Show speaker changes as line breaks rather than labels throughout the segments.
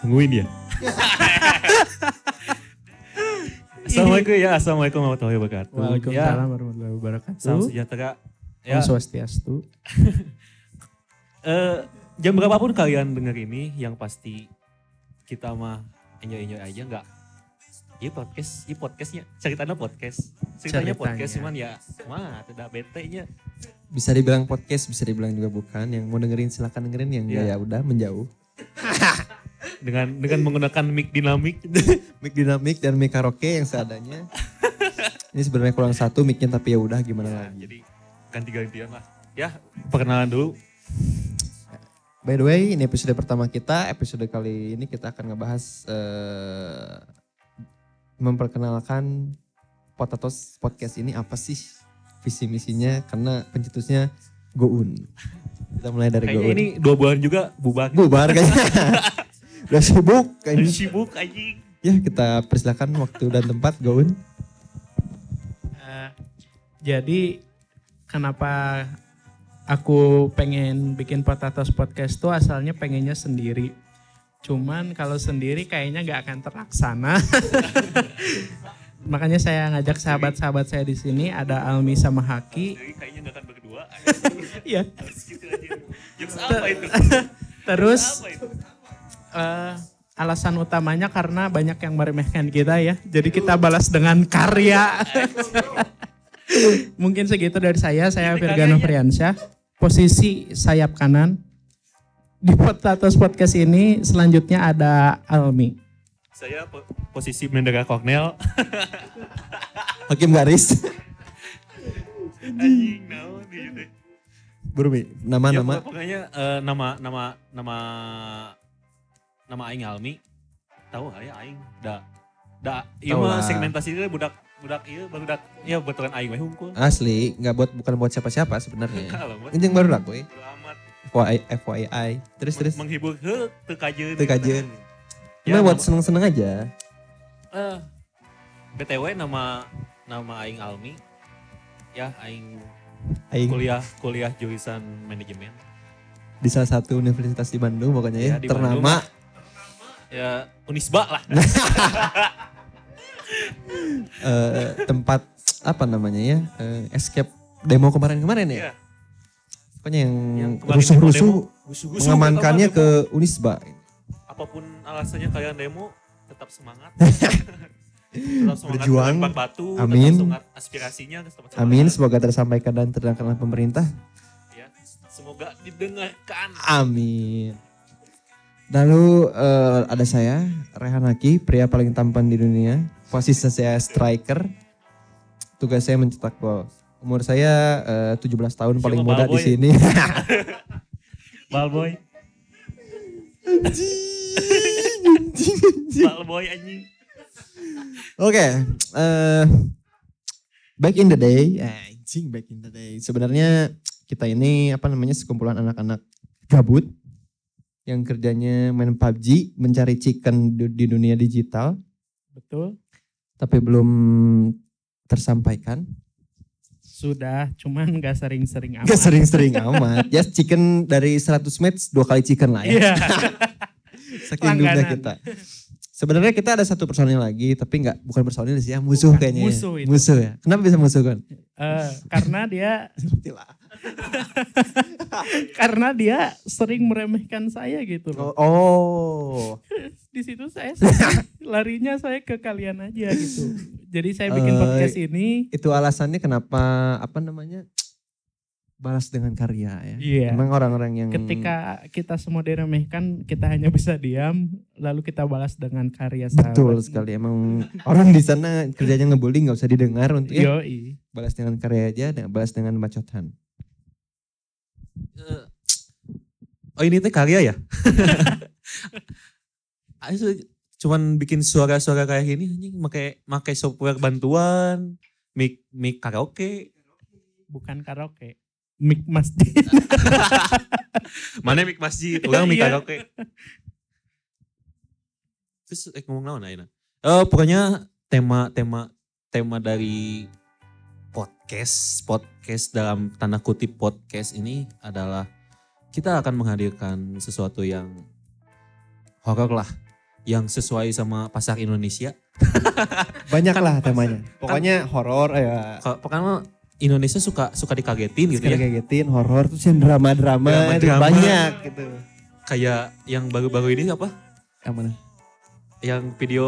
Nungguin dia. Assalamualaikum ya, Assalamualaikum warahmatullahi wabarakatuh.
Waalaikumsalam warahmatullahi wabarakatuh.
Ya, salam sejahtera.
Om
Ya,
Swastiastu.
eh, jam berapapun kalian denger ini, yang pasti kita mah enjoy-enjoy aja nggak? Iya podcast, iya podcastnya. Ceritanya podcast. Ceritanya,
Ceritanya.
podcast cuman ya, mah tidak bete nya.
Bisa dibilang podcast, bisa dibilang juga bukan. Yang mau dengerin silakan dengerin, yang enggak
Iya.
ya udah menjauh.
Dengan dengan menggunakan mic dinamik.
Mic dinamik dan mic karaoke yang seadanya. Ini sebenarnya kurang satu micnya tapi ya udah gimana
Ya,
lagi.
jadi ganti-gantian lah. Ya, perkenalan dulu.
By the way, ini episode pertama kita. Episode kali ini kita akan ngebahas eh, memperkenalkan Potatoes Podcast ini apa sih visi misinya karena pencetusnya Goun. Kita mulai dari
Kayaknya
Goun.
ini dua bulan juga bubar.
bubar kayaknya. Udah sibuk kayaknya.
Sibuk anjing.
Ya kita persilakan waktu dan tempat Gaun.
Eh, jadi kenapa aku pengen bikin Potatoes Podcast tuh asalnya pengennya sendiri. Cuman kalau sendiri kayaknya nggak akan terlaksana. Makanya saya ngajak sahabat-sahabat saya di sini ada Almi sama Haki.
Jadi kayaknya gak akan berdua.
Ya,
Harus gitu aja. Jokes apa itu?
terus
Apa itu?
eh, alasan utamanya karena banyak yang meremehkan kita ya. Jadi kita balas dengan karya. Mungkin segitu dari saya. Saya
Ini
Virgano
karyanya.
Priansyah. Posisi sayap kanan. Di Potatos Podcast ini selanjutnya ada Almi.
Saya po- posisi mendaga Kornel.
Hakim Garis.
Anjing, naon gitu deh.
Berumi.
Ya,
Nama-nama.
pokok- pokoknya eh, nama nama nama nama aing Almi. Tahu gak ya aing? Da da ieu
Tahu
mah
lah.
segmentasi dia budak budak ieu budak ya betulan aing we hungkul.
Asli, nggak buat bukan buat siapa-siapa sebenarnya.
Kalau buat
Ini yang baru lah gue.
bodo amat
FYI, FYI. Terus terus.
menghibur heuh teu kajeun.
Teu kajeun.
Ya,
Cuma buat
nama-
seneng-seneng aja.
Eh, BTW nama nama aing Almi. Ya, aing
Aing
kuliah kuliah jurusan manajemen.
di salah satu universitas di Bandung pokoknya ya,
Ya, di
ternama.
Ya, Unisba lah.
eh, tempat apa namanya ya? eh, escape demo kemarin-kemarin ya.
Iya.
Pokoknya yang,
Yang kemarin
rusuh-rusuh
Gusu-gusu
mengamankannya
pertama demo.
ke Unisba.
apapun alasannya kalian demo tetap semangat. tetap semangat
Berjuang.
menembak batu,
Amin.
tetap semangat aspirasinya tetap semangat.
Amin, semoga tersampaikan dan terdengarkan oleh pemerintah.
Ya. Semoga didengarkan.
Amin. Lalu eh, ada saya, Rehan Haki, pria paling tampan di dunia. Posisi saya striker. Tugas saya mencetak gol. Umur saya eh, 17 tahun
Siapa
paling muda di
Balboy?
sini.
Balboy, balboy anjing.
Oke, eh, back in the day, Eh, anjing back in the day. Sebenarnya kita ini apa namanya sekumpulan anak-anak gabut yang kerjanya main PUBG, mencari chicken du- di dunia digital.
Betul.
tapi belum tersampaikan.
Sudah, cuman gak sering-sering amat.
Gak sering-sering amat. Ya chicken dari 100 match dua kali chicken lah ya.
Iya.
Saking dunia
langganan.
kita. Sebenarnya kita ada satu personil lagi, tapi nggak bukan personil sih ya, musuh
Bukan,
kayaknya. ya.
musuh itu.
Musuh ya. Kenapa bisa musuh kan?
Eh, karena dia karena dia sering meremehkan saya gitu
Oh,
loh.
oh.
Di situ saya sering- larinya saya ke kalian aja gitu. Jadi saya bikin
Eh,
podcast ini
itu alasannya kenapa apa namanya? balas dengan karya ya.
Iya.
Emang orang-orang yang
ketika kita semua diremehkan, kita hanya bisa diam lalu kita balas dengan karya sahabat.
betul sekali emang orang di sana kerjanya ngebully nggak usah didengar untuk ya
Yoi.
balas dengan karya aja dan balas dengan bacotan.
Eh, Oh ini teh karya ya? Ayo, cuman bikin suara-suara kayak gini anjing make make software bantuan, mic mic karaoke.
Bukan karaoke. Mic masjid.
Mana mic masjid, orang mic
Iya.
karaoke. Terus eh, ngomong naon ayeuna? Eh pokoknya tema tema tema dari podcast podcast dalam tanda kutip podcast ini adalah kita akan menghadirkan sesuatu yang horor lah yang sesuai sama pasar Indonesia.
Banyak lah temanya. Kan
Kan-
Pokoknya horor ya.
Ka- Karena Indonesia suka suka dikagetin gitu ya.
Gitu kagetin horor terus yang drama-drama itu
Drama-drama.
banyak gitu.
Kayak yang baru-baru ini apa?
Yang mana?
Yang video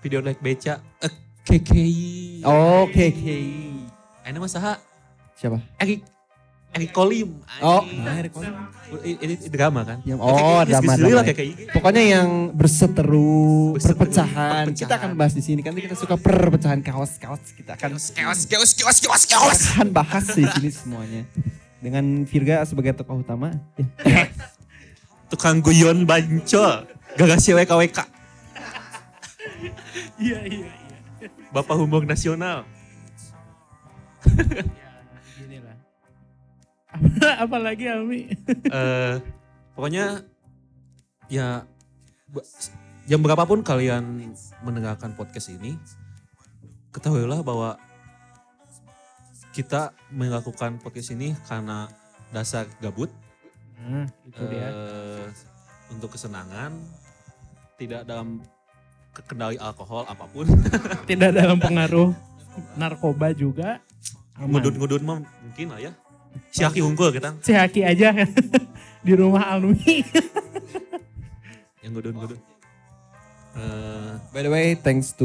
video naik beca eh, KKI.
Oh, Oke, oke.
Ini mah saha?
Siapa?
Erik Erik Kolim.
Oh,
Anjing. Ini- ini drama kan?
Yang oh, drama.
drama.
drama. Pokoknya yang berseteru,
Berseteru,
perpecahan.
perpecahan.
Kita akan bahas di sini kan kita suka perpecahan kaos-kaos. Kita akan
Keos, keos, keos, keos, keos.
kita akan bahas di sini semuanya. Dengan Virga sebagai tokoh utama.
Tukang guyon bancol. Gagas si WKWK.
Iya iya iya.
Bapak Humor Nasional.
Inilah.
Apalagi Ami.
eh pokoknya ya ba- jam berapapun kalian mendengarkan podcast ini ketahuilah bahwa kita melakukan podcast ini karena dasar gabut
Nah, itu dia.
eh, untuk kesenangan tidak dalam kendali alkohol apapun
Tidak dalam pengaruh narkoba juga. Aman.
ngudun-ngudun mah mungkin lah ya si Aki unggul kita
Si Haki aja kan. di rumah alumni.
yang ngudun-ngudun
Oh.
Eh,
By the way, thanks to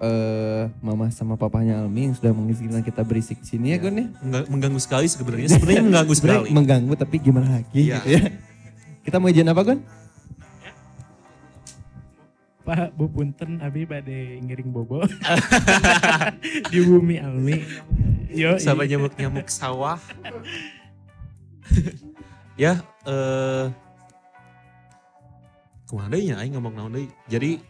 eh, mama sama papahnya Almi yang sudah mengizinkan kita berisik di sini ya, Gun ya.
mengga- mengganggu sekali sebenarnya sebenarnya mengganggu
Sebenarnya
sekali
mengganggu tapi gimana lagi
Iya.
gitu ya. Kita mau izin apa, Gun?
Pak Bu Punten abi bade ngiring bobo. di bumi alumni. Yo. iya.
sama nyamuk-nyamuk sawah. ya, eh kumaha deui nya aing ngomong naon deui. Jadi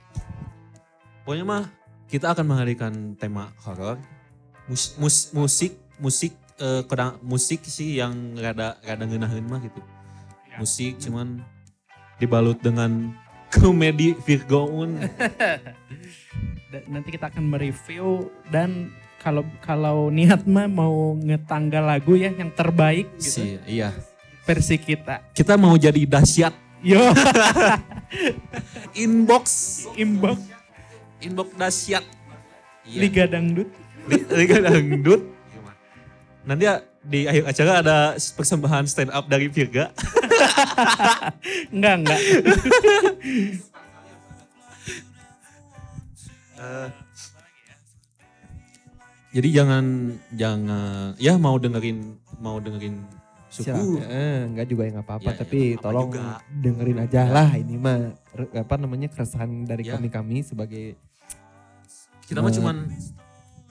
pokoknya mah kita akan menghadirkan tema horor. Mus, mus- musik musik eh, kurang- musik sih yang rada rada ngeunaheun mah gitu.
Ya.
Musik cuman dibalut dengan komedi Virgoun. gitu.
Da- nanti kita akan mereview dan kalau kalau niat mah mau ngetanggal lagu ya yang terbaik gitu
sih, iya.
versi kita.
Kita mau jadi dahsyat
Yo
inbox
inbox
inbox dahsyat. Iya.
Liga Dangdut.
Li- Liga Dangdut. Nanti ya, di akhir acara ada persembahan stand up dari Virga.
Enggak enggak.
Jadi jangan jangan ya mau dengerin mau dengerin suku
Silakan. Eh, enggak juga ya enggak
Ya,
apa-apa,
ya,
tapi
nggak apa-apa
tolong
juga.
dengerin aja lah ini mah Re- apa namanya keresahan dari
Ya.
kami-kami sebagai
kita mah
Eh.
cuman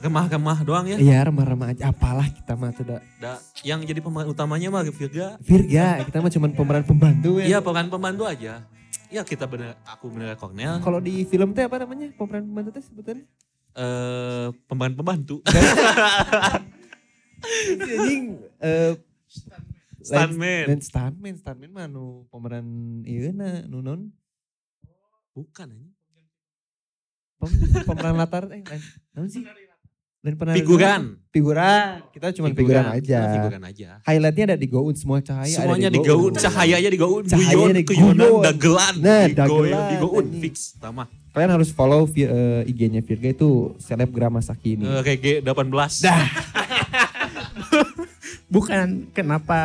remah-remah doang ya.
ya remah-remah aja apalah kita mah tidak
Da- yang jadi pemeran utamanya mah Virga.
Virga, kita mah cuman pemeran pembantu ya.
Iya pemeran pembantu aja. Hmm. Ya kita bener aku bener Cornel
Kalau di film teh apa namanya? Pemeran pembantu teh sebutannya?
eh pembantu pembantu.
Si anjing eh
Stuntman.
Dan stuntman, stuntman mah nu pemeran ieu na nu naon?
Bukan anjing.
Pem- pemeran latar eh lain- naon sih? Lain pemeran
Figuran.
Figuran. Kita cuman figuran, aja.
Cuma Figuran aja.
Highlightnya ada di Goun semua cahaya
Semuanya
ada di
digaun, cahayanya digaun,
Cahaya
guyon,
digaun.
keyonan, dagelan,
Nah,
digoy-
dagelan,
digaun,
anjing.
fix, sama.
Kalian harus follow vi- eh, IG-nya Virga itu selebgram Masaki ini.
Eh, Rege 18.
Bukan kenapa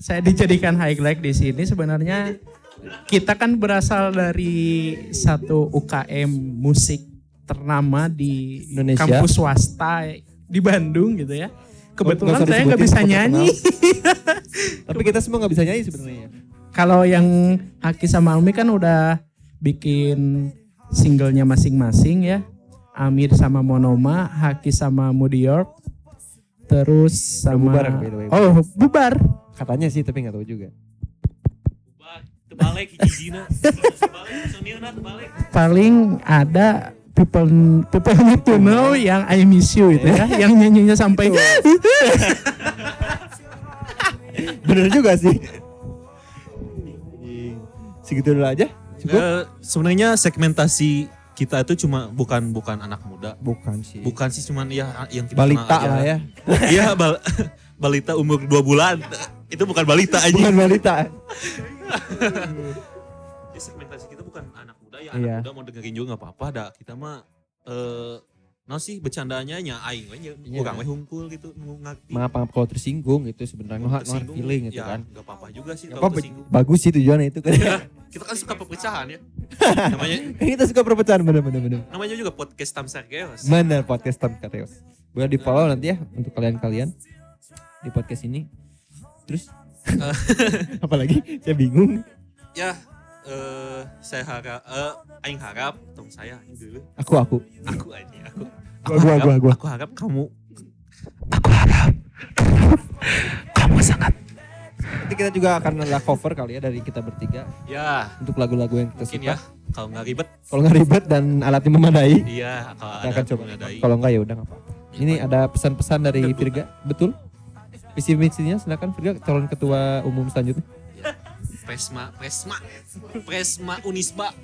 saya dijadikan highlight di sini sebenarnya kita kan berasal dari satu UKM musik ternama di
Indonesia.
kampus swasta di Bandung gitu ya.
Oh,
Kebetulan
Nggak usah
saya nggak
disebutin,
bisa
takut
nyanyi.
Tapi kita semua nggak bisa nyanyi sebenarnya.
Kalau yang Aki sama Almi kan udah bikin singlenya masing-masing ya. Amir sama Monoma, Haki sama Mudior, terus sama
bubar, by the way.
oh bubar
Katanya sih tapi nggak tahu juga.
Tebalik, hiji-hijina. Tebalik, seniorna tebalik.
paling ada people people need to know yang I miss you itu ya, yang nyanyinya sampai
Bener juga sih. Segitu dulu aja. Cukup?
Eh, sebenarnya segmentasi kita itu cuma bukan bukan anak muda.
Bukan sih.
Bukan sih cuman ya yang kita
Balita
kenal aja.
lah ya.
Iya, bal- balita umur 2 bulan. Itu bukan balita aja.
Bukan balita.
segmentasi kita bukan anak muda ya
Iya.
anak muda mau dengerin juga nggak apa-apa dah. Kita mah eh nah sih bercandanya nya aing we nya
Iya.
urang we hungkul gitu nu ngerti.
maaf maaf kalau tersinggung gitu sebenarnya no hard no hard
Tersinggung,
feeling gitu
ya,
kan
nggak apa-apa juga sih
Nggak
kalau
apa-apa.
tersinggung.
bagus sih tujuannya itu kan
Kita kan suka perpecahan ya. namanya
kita suka perpecahan bener bener bener
namanya juga podcast Tamsar Chaos.
bener podcast Tom Kareos boleh di follow nanti ya untuk kalian kalian di podcast ini terus apalagi saya bingung
ya eh saya harap eh aing harap tong saya aing dulu
aku aku
aku aja aku
Gua, gua,
harap,
gua, gua.
aku harap kamu
nanti kita juga akan ada cover kali ya dari kita bertiga
ya
untuk lagu-lagu yang kita
mungkin
suka
ya kalau nggak ribet
kalau nggak ribet dan alatnya memadai
iya kalau
kita
ada
akan coba
mengenai
kalau nggak ya udah nggak apa-apa ini ada pesan-pesan dari
Tentu.
Virga betul visi misinya silakan Virga calon ketua umum selanjutnya
Presma Presma Presma Unisba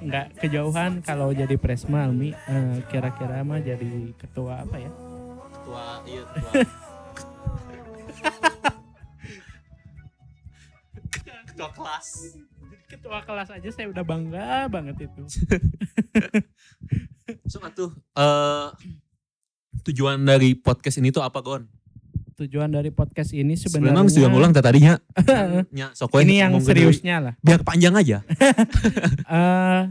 nggak kejauhan kalau jadi presma Almi eh, kira-kira mah jadi ketua apa ya
ketua iya ketua ketua kelas
ketua kelas aja saya udah bangga banget itu
so atuh eh tujuan dari podcast ini tuh apa Gon?
tujuan dari podcast ini sebenarnya
Sebenarnya tujuan ulang teh tadinya. Nya, sok we
ini yang
ngomong gede.
seriusnya lah
Biar panjang aja.
eh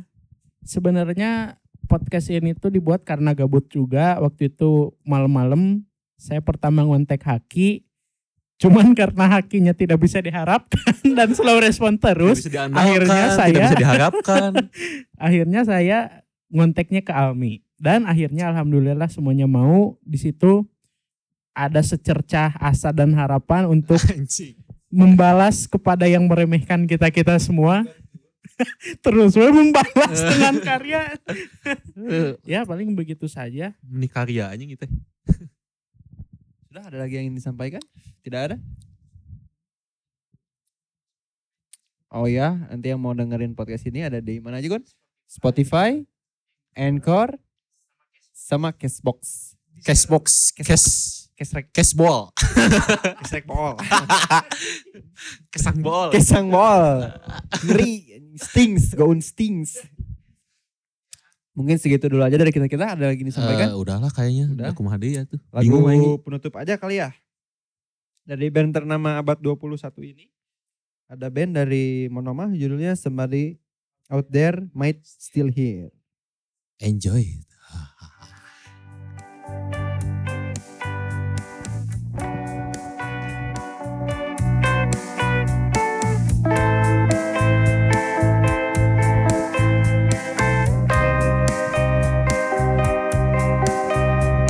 sebenarnya podcast ini tuh dibuat karena gabut juga waktu itu malam-malam saya pertama ngontek Haki cuman karena Hakinya tidak bisa diharapkan dan slow respon terus
Tidak bisa diandalkan,
akhirnya
tidak
saya-
bisa diharapkan.
akhirnya saya ngonteknya ke Almi dan akhirnya alhamdulillah semuanya mau di situ ada secercah asa dan harapan untuk
Anjing.
membalas kepada yang meremehkan kita kita semua terus we membalas dengan karya ya paling begitu saja
Ini karya anjing gitu.
sudah ada lagi yang ingin disampaikan tidak ada oh ya nanti yang mau dengerin podcast ini ada di mana aja Gon Spotify Anchor sama Cashbox
Cashbox, cash,
Cashrek
cashball,
Cashrek Ball
kesang bol.
Kesang Ball ngeri stings gaun stings mungkin segitu dulu aja dari kita kita ada lagi yang disampaikan
Eh, udahlah kayaknya.
Udah.
Udah. Aku mah ya tuh.
Lagu
Bingung aing.
penutup aja kali ya. Dari band ternama abad 21 ini. Ada band dari Monoma judulnya Somebody Out There Might Still Here.
Enjoy.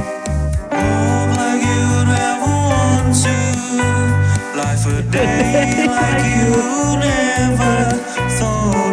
Walk like you'd never want to. Life a day like you never thought